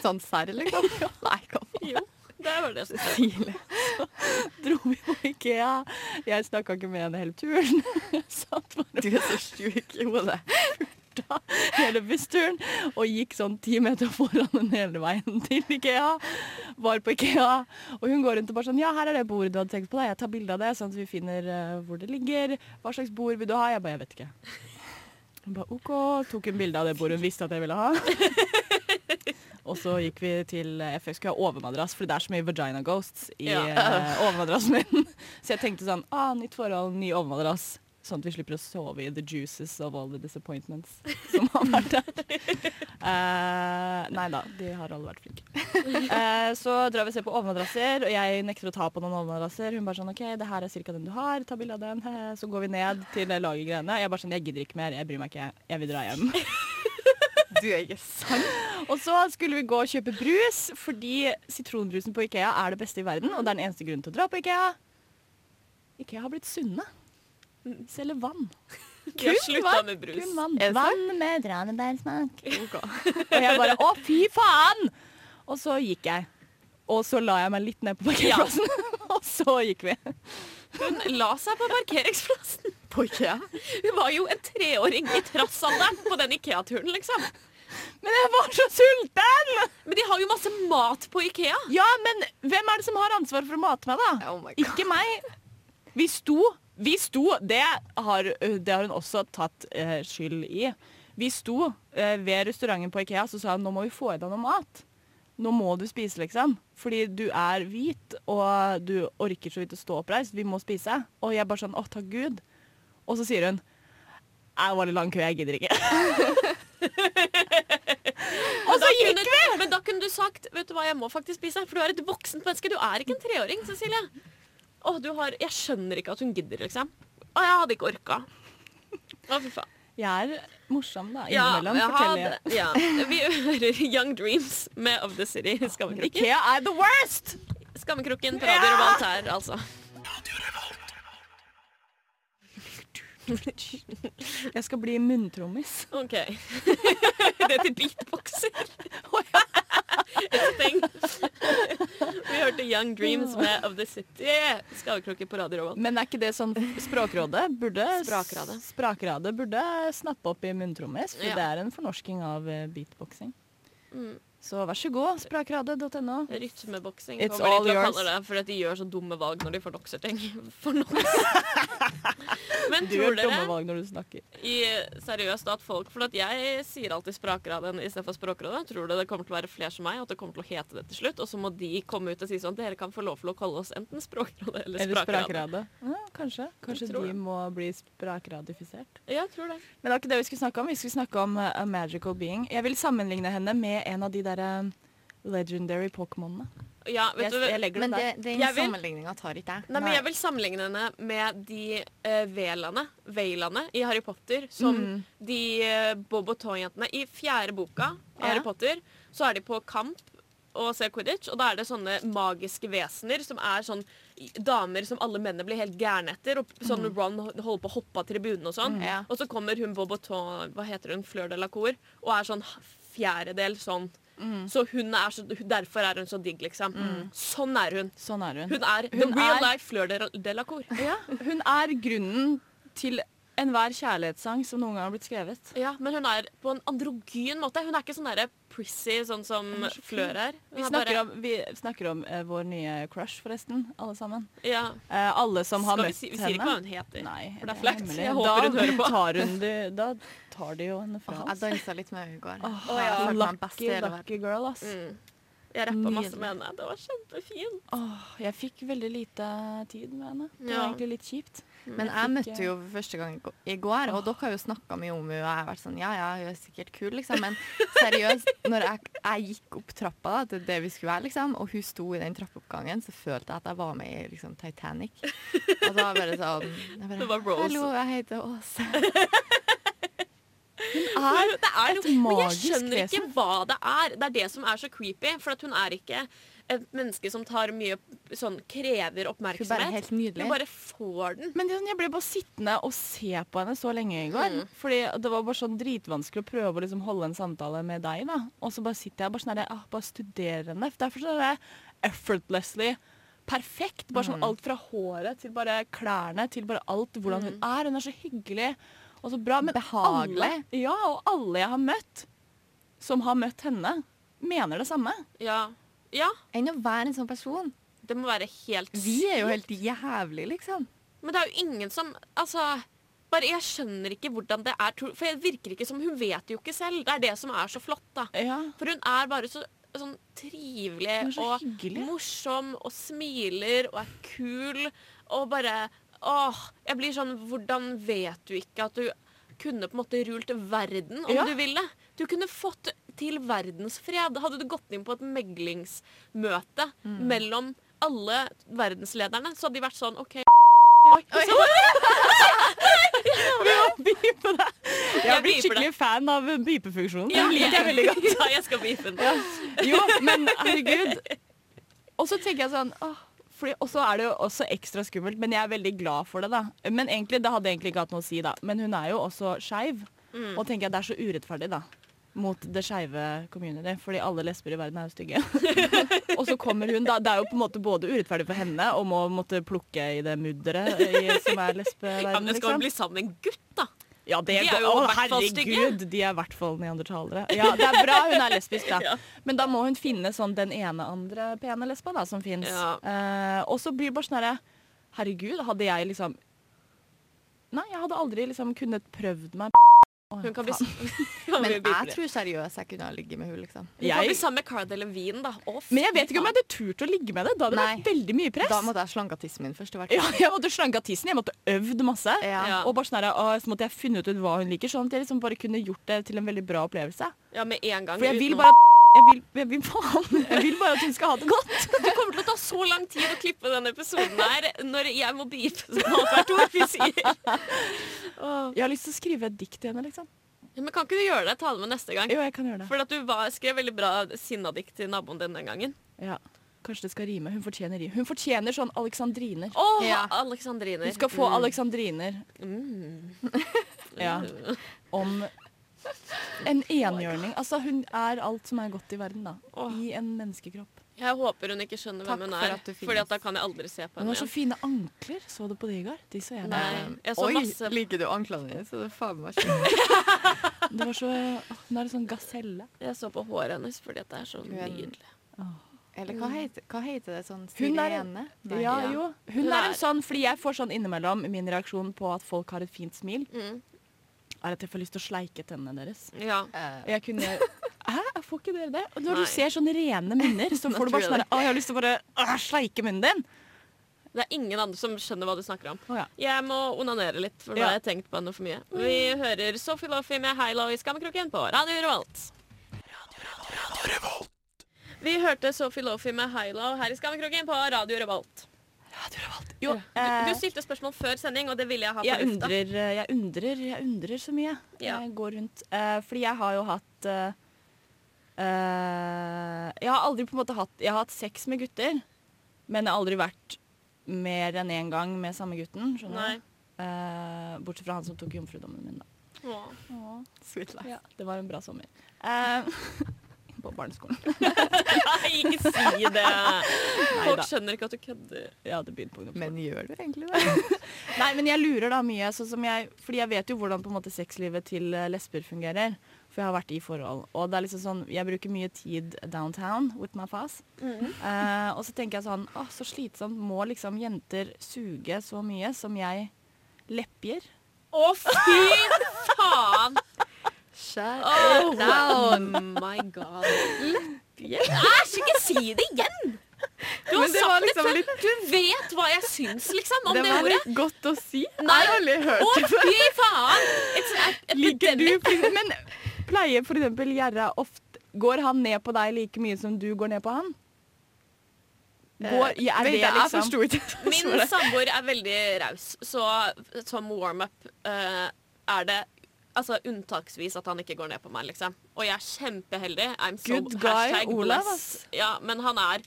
Speaker 2: Sånn serr, liksom? Nei, hva faen?
Speaker 1: Jo, det var det jeg syntes.
Speaker 2: Tidlig.
Speaker 3: Dro vi på Ikea. Jeg snakka ikke med henne hele turen. Satt bare
Speaker 2: Du er så sjuk i hodet.
Speaker 3: borta hele bussturen og gikk sånn ti meter foran henne hele veien til Ikea. Var på Ikea, og hun går rundt og bare sånn Ja, her er det bordet du hadde tenkt på, da. Jeg tar bilde av det, sånn at vi finner eh, hvor det ligger. Hva slags bord vil du ha? Jeg bare Jeg vet ikke. Hun bare OK. Tok hun bilde av det bordet hun visste at jeg ville ha. Og så gikk vi til eh, FX, skulle ha overmadrass, for det er så mye vagina ghosts i
Speaker 1: Ja.
Speaker 3: eh, overmadrassen min. Så jeg tenkte sånn ah, Nytt forhold, ny overmadrass. Sånn at vi slipper å sove i the juices of all the disappointments som har vært der. Eh, nei da, de har alle vært flinke. Eh, så drar vi og ser på overmadrasser, og jeg nekter å ta på noen overmadrasser. Hun bare sånn OK, det her er cirka den du har, ta bilde av den. hehe». Så går vi ned til det lagergreiene. Jeg bare sånn Jeg gidder ikke mer, jeg bryr meg ikke, jeg vil dra hjem.
Speaker 2: Du er ikke sann.
Speaker 3: Og så skulle vi gå og kjøpe brus, fordi sitronbrusen på Ikea er det beste i verden, og det er den eneste grunnen til å dra på Ikea. Ikea har blitt sunne. Selger vann.
Speaker 1: De har slutta
Speaker 3: vann,
Speaker 1: med brus.
Speaker 3: Kun vann.
Speaker 2: Er det sant?
Speaker 3: vann med tranebærsmak. Og jeg bare å, fy faen! Og så gikk jeg. Og så la jeg meg litt ned på parkeringsplassen, og så gikk vi.
Speaker 1: Hun la seg på parkeringsplassen.
Speaker 2: På IKEA.
Speaker 1: Hun var jo en treåring i trassalderen på den Ikea-turen, liksom.
Speaker 3: Men jeg var så sulten!
Speaker 1: Men de har jo masse mat på Ikea.
Speaker 3: Ja, men hvem er det som har ansvar for å mate meg, da?
Speaker 2: Oh my God.
Speaker 3: Ikke meg. Vi sto. Vi sto. Det har, det har hun også tatt eh, skyld i. Vi sto eh, ved restauranten på Ikea så sa hun nå må vi få i deg noe mat. Nå må du spise, liksom. Fordi du er hvit, og du orker så vidt å stå oppreist. Vi må spise. Og jeg bare sånn å, takk Gud. Og så sier hun det var litt lang kø, jeg gidder ikke. og så gikk
Speaker 1: kunne, Men da kunne du sagt Vet du hva, jeg må faktisk spise, for du er et voksent menneske. Du er ikke en treåring, Cecilie. Å, du har Jeg skjønner ikke at hun gidder, liksom. Å, jeg hadde ikke orka. Å, fy faen.
Speaker 3: Jeg er morsom, da.
Speaker 1: Ja,
Speaker 3: Innimellom
Speaker 1: jeg
Speaker 3: forteller jeg.
Speaker 1: hadde, ja. Vi hører Young Dreams med Of The City. Skammekroken.
Speaker 3: Ikea er the worst!
Speaker 1: Skammekroken på Radio Revolt her, altså.
Speaker 3: Jeg skal bli munntrommis.
Speaker 1: OK. Det heter beatboxer. Thing. Vi hørte Young Dreams med Of The City. Skammekroken på Radio Revolt.
Speaker 3: Men er ikke det sånn Språkrådet burde,
Speaker 1: Sprakradet.
Speaker 3: Sprakradet burde snappe opp i munntrommis, for
Speaker 1: Ja.
Speaker 3: det er en fornorsking av eh, beatboxing.
Speaker 1: Mm.
Speaker 3: Så vær så god, sprakradet.no.
Speaker 1: Rytmeboksing
Speaker 3: It's
Speaker 1: kommer
Speaker 3: all
Speaker 1: de til å
Speaker 3: yours.
Speaker 1: kalle det, fordi at de gjør så dumme valg når de fornokser ting. Fornoks. Men
Speaker 3: Du
Speaker 1: tror
Speaker 3: gjør dumme
Speaker 1: dere
Speaker 3: valg når du snakker.
Speaker 1: i seriøst at folk For at jeg sier alltid Sprakraden istedenfor Språkrådet. Tror dere det kommer til å være flere som meg, at det kommer til å hete det til slutt? Og så må de komme ut og si sånn Dere kan få lov til å kalle oss enten Språkrådet eller
Speaker 3: Eller
Speaker 1: Sprakraden.
Speaker 3: sprakradet. Ja, kanskje. Kanskje
Speaker 1: Jeg tror
Speaker 3: de
Speaker 1: det.
Speaker 3: må bli sprakradifisert.
Speaker 1: Ja, jeg tror det.
Speaker 3: Men det var ikke det vi skulle snakke om. Vi skulle snakke om eh, A Magical Being. Jeg vil sammenligne henne med en av de der eh, legendary Pokémonene.
Speaker 1: Ja, vet
Speaker 3: Jeg,
Speaker 1: du,
Speaker 3: jeg legger det
Speaker 2: Men det,
Speaker 3: der.
Speaker 2: den
Speaker 1: Jeg vil-
Speaker 2: sammenligninga tar ikke jeg.
Speaker 1: Nei, men
Speaker 3: Nei.
Speaker 1: Jeg vil sammenligne henne med de uh, velene, veilene i Harry Potter. Som
Speaker 3: Mm.
Speaker 1: de eh, Bob og Toy-jentene. I fjerde boka av Harry Potter så er de på kamp og ser quidditch. Og da er det sånne magiske vesener som er sånn i- damer som alle mennene blir helt gærne etter. Og sånn
Speaker 3: Mm.
Speaker 1: Ron ho- holder på å hoppe av tribunen og sånn.
Speaker 2: Ja.
Speaker 1: Og så kommer hun Bob og Toy, hva heter hun, Fleur de la Cour, og er sånn fjerdedel sånn.
Speaker 3: Mm.
Speaker 1: Så hun er så, derfor er hun så digg, liksom. Sånn er hun.
Speaker 3: Sånn er hun.
Speaker 1: Hun er the
Speaker 3: Hun
Speaker 1: real
Speaker 3: er-
Speaker 1: life Fleur de, de la Cour.
Speaker 3: Ja, hun er grunnen til enhver kjærlighetssang som noen gang har blitt skrevet.
Speaker 1: Ja, men hun er på en androgyn måte. Hun er ikke sånn derre prissy sånn som
Speaker 3: Hun er så fin.
Speaker 1: Fleur er. Hun
Speaker 3: Vi
Speaker 1: er
Speaker 3: snakker
Speaker 1: bare-
Speaker 3: om, vi snakker om eh, vår nye crush, forresten. Alle sammen.
Speaker 1: ja.
Speaker 3: Eh, alle som har
Speaker 1: Skal vi,
Speaker 3: møtt
Speaker 1: si, vi sier
Speaker 3: henne.
Speaker 1: ikke hva hun heter.
Speaker 3: Nei,
Speaker 1: for det er flaut.
Speaker 3: hemmelig.
Speaker 1: Jeg håper hun hører på.
Speaker 3: Da tar, hun de, da tar de jo henne fra
Speaker 2: Åh, Jeg
Speaker 3: oss.
Speaker 2: dansa litt med henne i går.
Speaker 3: Åh,
Speaker 1: Å, ja.
Speaker 2: Jeg følte meg best i
Speaker 3: Lucky,
Speaker 2: hele verden.
Speaker 3: lucky girl, ass.
Speaker 1: Mm. Jeg rappa masse
Speaker 3: Nydelig.
Speaker 1: med henne. Det var kjempefint.
Speaker 3: Åh, jeg fikk veldig lite tid med henne. Det var
Speaker 1: Ja.
Speaker 3: egentlig litt kjipt.
Speaker 2: Men jeg
Speaker 3: fikk,
Speaker 2: møtte jo
Speaker 1: eh,
Speaker 2: for første gang i gå- i går, og dere har jo snakka mye om henne. Og jeg har vært sånn, ja ja, hun er sikkert kul, liksom. Men seriøst, når jeg, jeg gikk opp trappa da, til det vi skulle være, liksom, og hun sto i den trappeoppgangen, så følte jeg at jeg var med i liksom, Titanic. Og da var jeg bare sånn jeg bare,
Speaker 1: Det var Rose.
Speaker 2: Hallo, jeg heter Åse.
Speaker 1: Men det er
Speaker 3: et
Speaker 1: noe- Men jeg
Speaker 3: magisk
Speaker 1: skjønner ikke
Speaker 3: vesen.
Speaker 1: hva det er. Det er det som er så creepy. For at hun er ikke et menneske som tar mye sånn krever
Speaker 2: Hun er bare
Speaker 1: oppmerksomhet.
Speaker 2: helt nydelig.
Speaker 1: Hun bare får den.
Speaker 3: Men det er sånn, jeg ble bare sittende og se på henne så lenge i går. Fordi det var bare sånn dritvanskelig å prøve å liksom holde en samtale med deg. da. Og så bare sitter jeg bare sånn der, ah, bare studerer henne. Derfor så er det effortlessly perfekt. Bare sånn alt fra håret til bare klærne til bare alt hvordan hun er. Hun er så hyggelig og så bra. Men
Speaker 2: Behagelig.
Speaker 3: Alle, ja, og alle jeg har møtt som har møtt henne, mener det samme.
Speaker 1: Ja. ja.
Speaker 2: Enn å være en sånn person.
Speaker 1: Det må være helt
Speaker 2: Vi er jo helt jævlig, liksom.
Speaker 1: Men det er jo ingen som Altså, bare jeg skjønner ikke hvordan det er tror- For jeg virker ikke som Hun vet jo ikke selv. Det er det som er så flott, da.
Speaker 3: Ja.
Speaker 1: For hun er bare så sånn trivelig
Speaker 3: Hun er så
Speaker 1: og
Speaker 3: hyggelig.
Speaker 1: morsom og smiler og er kul og bare Åh, jeg blir sånn Hvordan vet du ikke at du kunne på en måte rult verden om
Speaker 3: Ja.
Speaker 1: du ville? Du kunne fått til verdensfred. Hadde du gått inn på et meglingsmøte
Speaker 3: Mm.
Speaker 1: mellom alle verdenslederne, så hadde de vært sånn OK Oi, Sånn. så
Speaker 3: Vi må beepe det. Jeg
Speaker 1: Jeg beeper
Speaker 3: har blitt
Speaker 1: det.
Speaker 3: skikkelig fan av beepefunksjonen.
Speaker 1: Ja,
Speaker 3: Den liker jeg veldig godt.
Speaker 1: Ja, jeg skal beefe den.
Speaker 3: Jo, men herregud. Og så tenker jeg sånn åh, fordi, Og så er det jo også ekstra skummelt, men jeg er veldig glad for det, da. Men egentlig, det hadde egentlig ikke hatt noe å si, da. Men hun er jo også skeiv.
Speaker 1: Mm.
Speaker 3: Og tenker jeg det er så urettferdig, da. Mot det skeive community, fordi alle lesber i verden er jo stygge. og så kommer hun, da. Det er jo på en måte både urettferdig for henne om å måtte plukke i det mudderet i- som er
Speaker 1: Ja,
Speaker 3: liksom.
Speaker 1: men
Speaker 3: lesbeverdenen,
Speaker 1: det skal jo bli sammen med en gutt, da.
Speaker 3: Ja,
Speaker 1: De
Speaker 3: det
Speaker 1: er
Speaker 3: går-
Speaker 1: jo i
Speaker 3: Å,
Speaker 1: hvert fall stygge.
Speaker 3: Herregud, de er i hvert fall neandertalere. Ja, det er bra hun er lesbisk, da.
Speaker 1: Ja.
Speaker 3: Men da må hun finne sånn den ene andre pene lesba da, som fins.
Speaker 1: Ja.
Speaker 3: Eh, og så blir det bare sånn herre Herregud, hadde jeg liksom Nei, jeg hadde aldri liksom kunnet prøvd meg Å,
Speaker 1: Hun kan bli,
Speaker 3: faen.
Speaker 1: Hun
Speaker 2: Men
Speaker 1: blir
Speaker 2: jeg
Speaker 1: bipolar.
Speaker 2: tror seriøst jeg kunne ha ligget med hun liksom.
Speaker 1: Hun kan bli
Speaker 3: jeg,
Speaker 1: sammen med Cara Delevingne, da. Å, fy
Speaker 3: Men jeg vet ikke om jeg hadde turt å ligge med det. Da hadde det
Speaker 2: Nei.
Speaker 3: vært veldig mye press.
Speaker 2: Da måtte jeg slanka tissen min først. i hvert fall.
Speaker 3: ja, jeg måtte slanka tissen, jeg måtte øvd masse.
Speaker 1: Ja.
Speaker 3: Og bare sånn herre, å, så måtte jeg funnet ut hva hun liker, sånn at jeg liksom bare kunne gjort det til en veldig bra opplevelse.
Speaker 1: Ja, med en gang.
Speaker 3: For jeg vil
Speaker 1: uten-
Speaker 3: bare at jeg vil, jeg vil, faen, jeg vil bare at hun skal ha det godt.
Speaker 1: Det kommer til å ta så lang tid å klippe denne episoden her når jeg må beepe som annethvert ord vi sier. Åh.
Speaker 3: Jeg har lyst til å skrive et dikt til henne, liksom.
Speaker 1: Ja, men kan ikke du gjøre det? Ta det med neste gang.
Speaker 3: Jo, jeg kan gjøre det.
Speaker 1: For at du var, skrev veldig bra sinnadikt til naboen din den gangen.
Speaker 3: Ja. Kanskje det skal rime. Hun fortjener rim. Hun fortjener sånn alexandriner.
Speaker 1: Å,
Speaker 2: Ja.
Speaker 1: Alexandriner.
Speaker 3: Hun skal få alexandriner
Speaker 1: Mm.
Speaker 3: ja. om en enhjørning. Altså, hun er alt som er godt i verden, da.
Speaker 1: Åh.
Speaker 3: I en menneskekropp.
Speaker 1: Jeg håper hun ikke skjønner
Speaker 2: Takk
Speaker 1: hvem hun
Speaker 2: for
Speaker 1: er,
Speaker 2: at du
Speaker 1: Fordi at
Speaker 2: finnes.
Speaker 1: da kan jeg aldri se på
Speaker 3: Hun
Speaker 1: henne.
Speaker 3: har så
Speaker 1: igjen.
Speaker 3: fine ankler. Så du på det i går? De så jeg.
Speaker 1: Nei, jeg så
Speaker 2: Oi,
Speaker 1: masse
Speaker 2: liker du anklene dine? Så det er faen meg skjønt.
Speaker 3: Det var så Åh, Nå er det sånn gaselle.
Speaker 1: Jeg så på håret hennes fordi at det er så
Speaker 2: er en-
Speaker 1: nydelig.
Speaker 2: Eller hva heter, hva heter det sånn
Speaker 3: Hun er-
Speaker 2: sirene? Nei.
Speaker 3: Ja,
Speaker 1: ja.
Speaker 3: jo. Hun
Speaker 1: Hun
Speaker 3: er
Speaker 1: er-
Speaker 3: en sånn, fordi jeg får sånn innimellom min reaksjon på at folk har et fint smil.
Speaker 1: Mm.
Speaker 3: er at jeg får lyst til å sleike tennene deres.
Speaker 1: Ja.
Speaker 2: Eh,
Speaker 3: Jeg kunne Hæ, jeg får ikke dere det? Og når
Speaker 1: Nei.
Speaker 3: du ser sånne rene munner, så får du bare sånn
Speaker 2: Naturlig.
Speaker 3: her, Å, jeg har lyst til å bare «Åh, sleike munnen din.
Speaker 1: Det er ingen andre som skjønner hva du snakker om.
Speaker 3: Å, ja.
Speaker 1: Jeg må onanere litt, for nå
Speaker 3: Ja. Mm.
Speaker 1: har jeg tenkt på henne for mye. Vi hører Sophie Loffy med Hei Lo i skammekroken på Radio Revolt.
Speaker 4: Radio Revolt.
Speaker 1: Vi hørte Sophie Lofi med Hilo her i Skammekroken på Radio Revolt.
Speaker 3: Jo,
Speaker 1: Du
Speaker 3: eh,
Speaker 1: stilte spørsmål før sending, og det ville jeg ha på
Speaker 3: jeg
Speaker 1: lufta.
Speaker 3: undrer, eh, jeg undrer, jeg undrer så mye.
Speaker 1: Ja.
Speaker 3: Jeg går rundt. Eh, fordi jeg har jo hatt eh, eh, Jeg har aldri på en måte hatt Jeg har hatt sex med gutter, men jeg har aldri vært mer enn én gang med samme gutten.
Speaker 1: Nei.
Speaker 3: Skjønner du? Eh, bortsett fra han som tok jomfrudommen min, da.
Speaker 1: Åh.
Speaker 2: Sweet life.
Speaker 3: Ja, det var en bra sommer. Eh, på barneskolen.
Speaker 1: Nei, ikke si det! Folk
Speaker 3: da.
Speaker 1: skjønner ikke at du kødder.
Speaker 3: Jeg hadde begynt på
Speaker 2: Men
Speaker 3: ungdomsskolen.
Speaker 2: gjør du egentlig det?
Speaker 3: Nei, men jeg lurer da mye, sånn som jeg, fordi jeg vet jo hvordan på en måte sexlivet til eh, lesber fungerer. For jeg har vært i forhold. Og det er liksom sånn, jeg bruker mye tid downtown with my fas.
Speaker 2: Mm.
Speaker 3: Eh, og så tenker jeg sånn, åh, så slitsomt må liksom jenter suge så mye som jeg lepjer.
Speaker 1: Å, fy faen!
Speaker 2: Shut
Speaker 1: Oh,
Speaker 2: down.
Speaker 1: my god. Æsj, ikke si det igjen! Du har
Speaker 2: Men det var
Speaker 1: sagt det
Speaker 2: liksom
Speaker 1: før.
Speaker 2: litt-
Speaker 1: Du vet hva jeg syns, liksom, om
Speaker 2: Det
Speaker 1: det,
Speaker 2: var
Speaker 1: ordet.
Speaker 2: litt godt å si.
Speaker 1: Nei.
Speaker 2: Jeg har aldri
Speaker 1: Å,
Speaker 2: hørt det før.
Speaker 1: fy faen! It's an
Speaker 3: Ligger
Speaker 1: epidemic.
Speaker 3: du, for- men pleier for eksempel Gjerra ofte, går han ned på deg like mye som du går ned på han?
Speaker 2: Eh,
Speaker 3: Går, er
Speaker 2: Vent,
Speaker 3: det
Speaker 2: jeg- Jeg
Speaker 3: liksom?
Speaker 2: forsto ikke.
Speaker 1: Min samboer er veldig raus, så som warm-up eh, er det altså, unntaksvis at han ikke går ned på meg, liksom. Og jeg er kjempeheldig. I'm so
Speaker 3: Good guy,
Speaker 1: hashtag
Speaker 3: Olav,
Speaker 1: blessed. Ja, men han er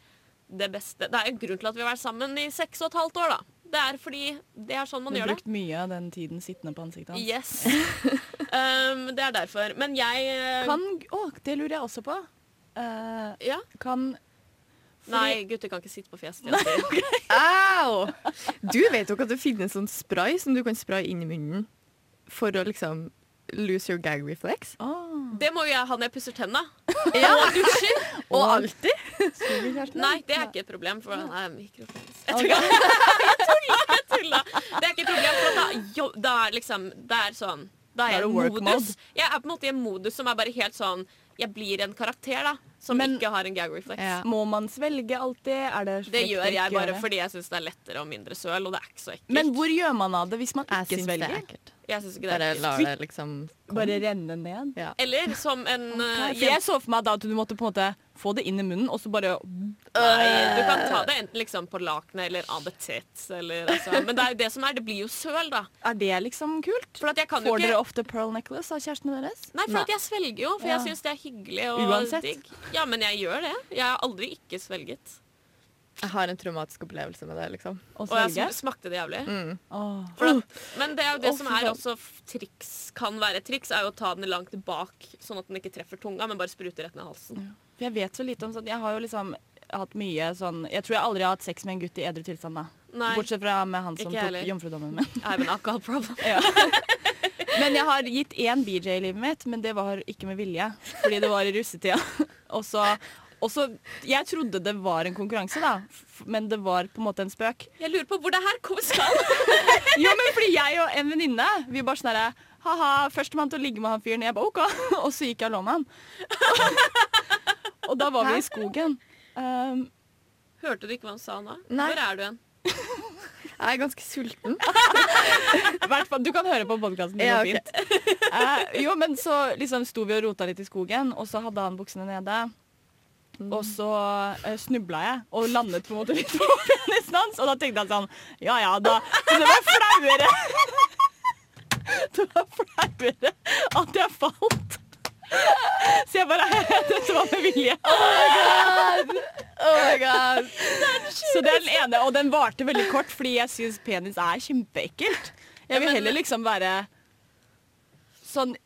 Speaker 1: det beste. Det er jo grunn til at vi har vært sammen i seks og et halvt år, da. Det er fordi det er sånn man
Speaker 3: Du har
Speaker 1: gjør det.
Speaker 3: brukt mye av den tiden sittende på ansiktet hans.
Speaker 1: Yes. um, det er derfor. Men jeg eh,
Speaker 3: Kan, å, det lurer jeg også på. Eh,
Speaker 1: ja.
Speaker 3: kan
Speaker 1: Nei, gutter kan ikke sitte på fjeset. jenter.
Speaker 2: Au! Du vet jo ikke at det finnes sånn spray som du kan spraye inn i munnen for å liksom lose your gag reflex.
Speaker 3: Å,
Speaker 1: Det må jo jeg ha når jeg pusser tenna.
Speaker 2: Ja.
Speaker 1: Og dusjer.
Speaker 2: Og alltid.
Speaker 3: skulle vi, Kjersten?
Speaker 1: Nei, det er ikke et problem. For nei, mikrofons.
Speaker 3: Ok.
Speaker 1: Jeg tulla. Det er ikke et problem, for da, jo, da er liksom Det er sånn Da
Speaker 3: Da
Speaker 1: er
Speaker 3: er
Speaker 1: jeg
Speaker 3: det
Speaker 1: i
Speaker 3: work
Speaker 1: modus. Jeg er på en måte i en modus som er bare helt sånn Jeg blir en karakter, da. Som
Speaker 3: Men-
Speaker 1: ikke har en gag reflex.
Speaker 2: Ja.
Speaker 3: Må man svelge alltid? Er det
Speaker 1: Det
Speaker 3: frekt å
Speaker 1: gjør
Speaker 3: ikke
Speaker 1: jeg bare
Speaker 3: gjøre?
Speaker 1: fordi jeg syns det er lettere og mindre søl, og det er ikke så ekkelt.
Speaker 3: Men hvor gjør man av det hvis man
Speaker 2: Jeg
Speaker 3: ikke
Speaker 2: syns det er
Speaker 3: svelger?
Speaker 2: ekkelt.
Speaker 1: jeg synes ikke det
Speaker 2: Bare
Speaker 1: er ekkelt.
Speaker 2: lar det liksom
Speaker 3: Bare renne ned?
Speaker 2: Ja.
Speaker 1: Eller som en
Speaker 3: Nei,
Speaker 1: eh,
Speaker 3: for jeg så for meg da at du måtte på en måte få det inn i munnen, og så bare
Speaker 1: Nei, du kan ta det enten liksom på lakenet eller av det tett, eller altså. Men det er jo det som er, det blir jo søl, da.
Speaker 3: Er det liksom kult?
Speaker 1: For at jeg kan jo
Speaker 3: Får dere
Speaker 1: ikke
Speaker 3: ofte pearl necklace av kjærestene deres?
Speaker 1: Nei, for at jeg svelger jo, for jeg
Speaker 3: Ja.
Speaker 1: syns det er hyggelig og
Speaker 3: Uansett.
Speaker 1: digg. Ja, men jeg gjør det. Jeg har aldri ikke svelget.
Speaker 2: Jeg har en traumatisk opplevelse med det, liksom. Mm.
Speaker 3: Å
Speaker 1: Og jeg
Speaker 3: svelge?
Speaker 1: sm- smakte det jævlig.
Speaker 3: Åh.
Speaker 1: For at, men det er jo det
Speaker 3: Mm. Å,
Speaker 1: som
Speaker 3: fy
Speaker 1: er
Speaker 3: faen.
Speaker 1: også f- triks, kan være triks, er jo å ta den langt bak, sånn at den ikke treffer tunga, men bare spruter rett ned halsen.
Speaker 3: For jeg vet så lite om sånn Jeg har jo liksom hatt mye sånn Jeg tror jeg aldri har hatt sex med en gutt i edru tilstand, da.
Speaker 1: Nei,
Speaker 3: Bortsett fra med han som
Speaker 1: Ikke
Speaker 3: tok
Speaker 1: heller.
Speaker 3: jomfrudommen min.
Speaker 1: I have an alcohol problem.
Speaker 3: Men jeg har gitt én BJ i livet mitt, men det var ikke med vilje. Fordi det var i russetida. Og så, og så Jeg trodde det var en konkurranse, da, f- men det var på en måte en spøk.
Speaker 1: Jeg lurer på hvor det her kommer skal.
Speaker 3: Jo, men fordi jeg og en venninne, vi bare sånn herre Ha-ha, førstemann til å ligge med han fyren. Jeg bare OK. Og så gikk jeg og lå med han. Og da var vi i skogen. Um,
Speaker 1: Hørte du ikke hva han sa nå?
Speaker 2: Nei.
Speaker 1: Hvor er du hen?
Speaker 2: Jeg er ganske sulten.
Speaker 3: I hvert fall, du kan høre på podkasten. Det
Speaker 2: Ja,
Speaker 3: går
Speaker 2: ok.
Speaker 3: fint. Eh, jo, men så liksom sto vi og rota litt i skogen, og så hadde han buksene nede. Og så uh, snubla jeg og landet på en måte litt på penisen hans, og da tenkte jeg sånn Ja ja, da Så det var flauere. Det var flauere at jeg falt. Så jeg bare Dette var med vilje.
Speaker 2: Oh my god.
Speaker 3: Så det er den ene, og den varte veldig kort fordi jeg syns penis er kjempeekkelt. Jeg vil
Speaker 1: men-
Speaker 3: heller liksom være sånn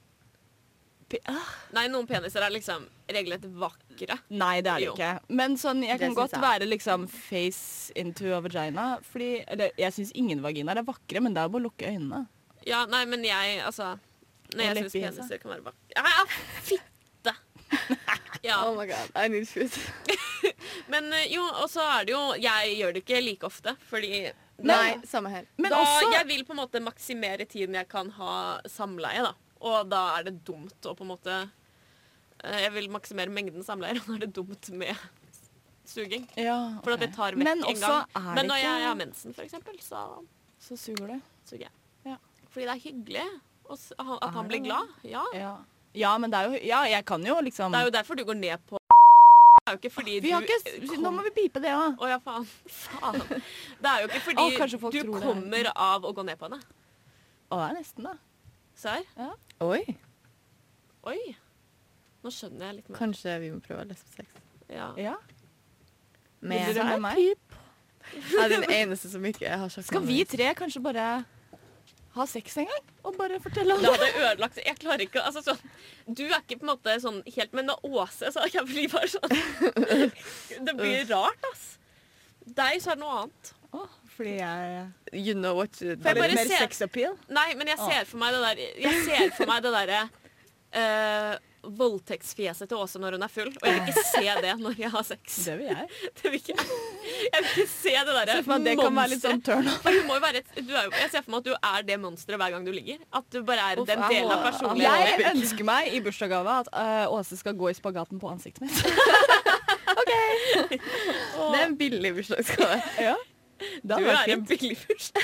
Speaker 3: Pe- ah,
Speaker 1: Nei, noen peniser er liksom regelrett vakre.
Speaker 3: Nei, det er det
Speaker 1: Jo.
Speaker 3: ikke. Men sånn,
Speaker 2: Det
Speaker 3: jeg kan
Speaker 2: syns
Speaker 3: godt
Speaker 2: jeg.
Speaker 3: være liksom face into a vagina. Fordi, eller, jeg syns ingen vaginaer er vakre, men det er jo bare å lukke øynene.
Speaker 1: Ja, nei, men jeg, altså Når
Speaker 3: Og
Speaker 1: jeg syns
Speaker 3: leppehisse.
Speaker 1: peniser kan være vakre Ja, ja, fitte! Ja,
Speaker 2: Oh my god. I need food.
Speaker 1: men eh, jo, og så er det jo Jeg gjør det ikke like ofte, fordi
Speaker 2: Nei, samme her.
Speaker 3: Men
Speaker 1: da,
Speaker 3: også
Speaker 1: Jeg vil på en måte maksimere tiden jeg kan ha samleie, da. Og da er det dumt å på en måte eh, Jeg vil maksimere mengden samleier, og da er det dumt med suging.
Speaker 3: ja,
Speaker 1: For at
Speaker 3: ok.
Speaker 1: det tar vekk
Speaker 3: men
Speaker 1: en
Speaker 3: også
Speaker 1: gang.
Speaker 3: er
Speaker 1: Men
Speaker 3: det
Speaker 1: når
Speaker 3: ikke
Speaker 1: jeg har mensen, for eksempel, så
Speaker 3: Så suger det.
Speaker 1: suger jeg.
Speaker 3: Ja.
Speaker 1: Fordi det er hyggelig å s- at
Speaker 3: Er
Speaker 1: han blir
Speaker 3: det?
Speaker 1: glad. Ja.
Speaker 3: Ja. ja, men det er jo Ja, jeg kan jo liksom
Speaker 1: Det er jo derfor du går ned på er jo ikke fordi
Speaker 3: Vi har
Speaker 1: du
Speaker 3: ikke s- Nå må vi pipe det òg.
Speaker 1: Å ja, faen. faen. Det er jo ikke
Speaker 3: Å,
Speaker 1: fordi
Speaker 3: kanskje folk
Speaker 1: du
Speaker 3: tror det.
Speaker 1: kommer av å gå ned på henne.
Speaker 3: Å, det er nesten, da.
Speaker 1: Se her.
Speaker 2: Oi,
Speaker 1: Oi. Nå skjønner jeg litt mer.
Speaker 2: kanskje vi må prøve lesbesex.
Speaker 1: Ja.
Speaker 3: Ja.
Speaker 2: Men
Speaker 3: Vil dere
Speaker 2: jeg
Speaker 3: med meg?
Speaker 2: er den eneste som ikke har sagt
Speaker 3: Skal
Speaker 2: noe.
Speaker 3: vi tre kanskje bare ha sex en gang? Og bare fortelle
Speaker 1: Det hadde ødelagt Jeg klarer ikke altså, sånn, Du er ikke på en måte sånn helt Men med Åse så jeg blir bare sånn Det blir rart, ass. Deg så er det noe annet.
Speaker 3: Å, fordi jeg
Speaker 2: You know what you
Speaker 1: jeg bare
Speaker 3: Litt mer
Speaker 1: se-
Speaker 3: sexappeal?
Speaker 1: Nei, men jeg
Speaker 3: Ah.
Speaker 1: ser for meg det der Jeg ser for meg det derre eh, voldtektsfjeset til Åse når hun er full. Og jeg vil ikke se det når jeg har sex.
Speaker 3: Det vil jeg.
Speaker 1: Det vil ikke, jeg vil ikke se det derre
Speaker 3: Se for meg at det kan være litt sånn turn off.
Speaker 1: For du må jo være et, du er, jo- jeg ser for meg at du er det monsteret hver gang du ligger. At du bare er
Speaker 2: Uff,
Speaker 1: den
Speaker 2: jeg
Speaker 1: delen av
Speaker 2: må-
Speaker 1: personligheten.
Speaker 3: Jeg ønsker meg i bursdagsgave at eh, Åse skal gå i spagaten på ansiktet mitt.
Speaker 2: Det er en billig bursdagsgave.
Speaker 3: ja.
Speaker 1: Du
Speaker 3: Da var
Speaker 1: er
Speaker 3: det
Speaker 1: en billig fyrst.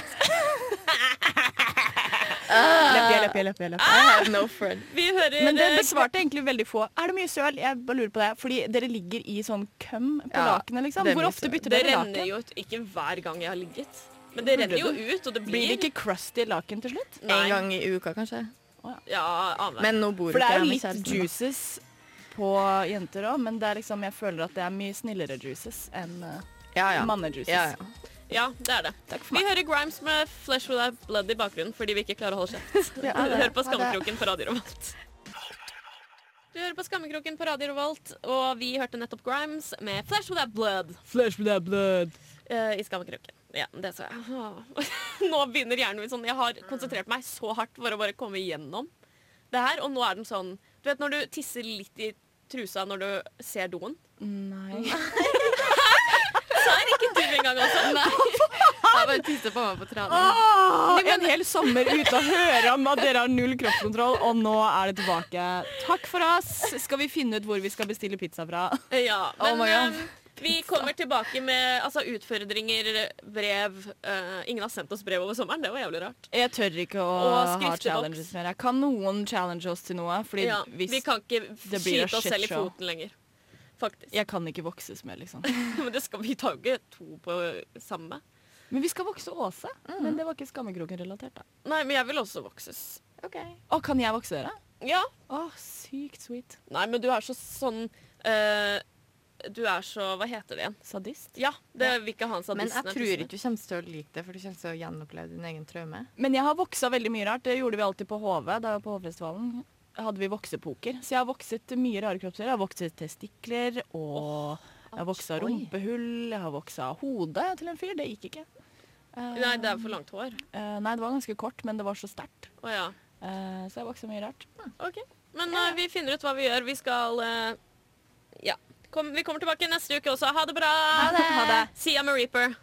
Speaker 3: Leppje, leppje, leppje. leppje.
Speaker 2: I have no friend.
Speaker 1: Vi hører
Speaker 3: Men det
Speaker 1: eh,
Speaker 3: besvarte egentlig veldig få. Er det mye søl? Jeg bare lurer på det. Fordi dere ligger i sånn køm på
Speaker 2: Ja,
Speaker 3: lakenet, liksom.
Speaker 2: det er
Speaker 3: Hvor
Speaker 2: mye
Speaker 3: ofte
Speaker 2: søl.
Speaker 3: bytter
Speaker 1: Det
Speaker 3: dere
Speaker 1: renner
Speaker 3: laken?
Speaker 1: jo ut, ikke hver gang jeg har ligget. Men det renner jo ut, og det blir,
Speaker 3: Blir det ikke crusty laken til slutt?
Speaker 1: Nei.
Speaker 2: En gang i uka, kanskje.
Speaker 1: Ja, annenhver.
Speaker 2: Men nå bor
Speaker 3: For det
Speaker 2: ikke jeg
Speaker 3: er jo
Speaker 2: med
Speaker 3: litt
Speaker 2: kjæresten.
Speaker 3: juices på jenter òg, men det er liksom, jeg føler at det er mye snillere juices enn eh,
Speaker 2: Ja, ja.
Speaker 3: mannejuices.
Speaker 2: Ja, ja.
Speaker 1: Ja, det er det. Vi hører Grimes med 'Flesh Without Blood' i bakgrunnen fordi vi ikke klarer å holde kjeft.
Speaker 3: Ja, det-
Speaker 1: Hør på
Speaker 3: ja, det-
Speaker 1: Skammekroken på Radio Revolt. Du hører på Skammekroken på Radio Revolt, og vi hørte nettopp Grimes med 'Flesh Without Blood'
Speaker 3: Flesh with that blood.
Speaker 1: eh, i Skammekroken. Ja, det så jeg. Åh. Nå begynner hjernen min sånn Jeg har konsentrert meg så hardt for å bare komme igjennom det her, og nå er den sånn Du vet når du tisser litt i trusa når du ser doen?
Speaker 3: Nei.
Speaker 1: Så er ikke du engang også.
Speaker 2: Jeg bare tisser på meg på tranen.
Speaker 3: Åh, en hel sommer ute og høre om at dere har null kroppskontroll, og nå er det tilbake. Takk for oss. Skal vi finne ut hvor vi skal bestille pizza fra?
Speaker 1: Ja,
Speaker 2: Oh
Speaker 1: men
Speaker 2: my God.
Speaker 1: eh, vi kommer tilbake med altså, utfordringer, brev eh, Ingen har sendt oss brev over sommeren, det var jævlig rart.
Speaker 3: Jeg tør ikke å
Speaker 1: Og
Speaker 3: ha
Speaker 1: skrifteboks.
Speaker 3: challenges mer. Kan noen challenge oss til noe? Fordi
Speaker 1: Ja,
Speaker 3: hvis
Speaker 1: vi kan ikke
Speaker 3: det blir
Speaker 1: skyte
Speaker 3: a
Speaker 1: oss selv i
Speaker 3: shitshow.
Speaker 1: foten lenger. Faktisk.
Speaker 3: Jeg kan ikke vokses mer, liksom.
Speaker 1: Men det skal vi ta jo ikke to på samme.
Speaker 3: Men vi skal vokse Åse. Men det var ikke Skammekroken-relatert, da.
Speaker 1: Nei, men jeg vil også vokses.
Speaker 3: Å, kan jeg vokse dere?
Speaker 1: Ja.
Speaker 3: Å, sykt sweet.
Speaker 1: Nei, men du er så sånn eh, Du er så Hva heter det igjen?
Speaker 3: Sadist.
Speaker 1: Ja, det vil ikke ha en
Speaker 2: Men
Speaker 1: sadist.
Speaker 2: jeg tror ikke du kommer til å like det, for du kommer til å gjenoppleve din egen traume.
Speaker 3: Men jeg har voksa veldig mye rart. Det gjorde vi alltid på HV. Da på HV-festivalen hadde vi voksepoker. Så jeg har vokset mye rare kroppsdeler. Jeg har vokset testikler og Jeg har voksa
Speaker 2: oi.
Speaker 3: rumpehull, jeg har voksa hode til en fyr. Det gikk ikke. Eh,
Speaker 1: Nei, det er for langt hår.
Speaker 3: eh, nei, det var ganske kort, men det var så sterkt.
Speaker 1: Å ja.
Speaker 3: Eh, så jeg voksa mye rart.
Speaker 1: Ok, men eh, vi finner ut hva vi gjør. Vi skal eh, Ja. Kom, vi kommer tilbake neste uke også. Ha det bra!
Speaker 3: Ha det.
Speaker 1: Sia med Reaper.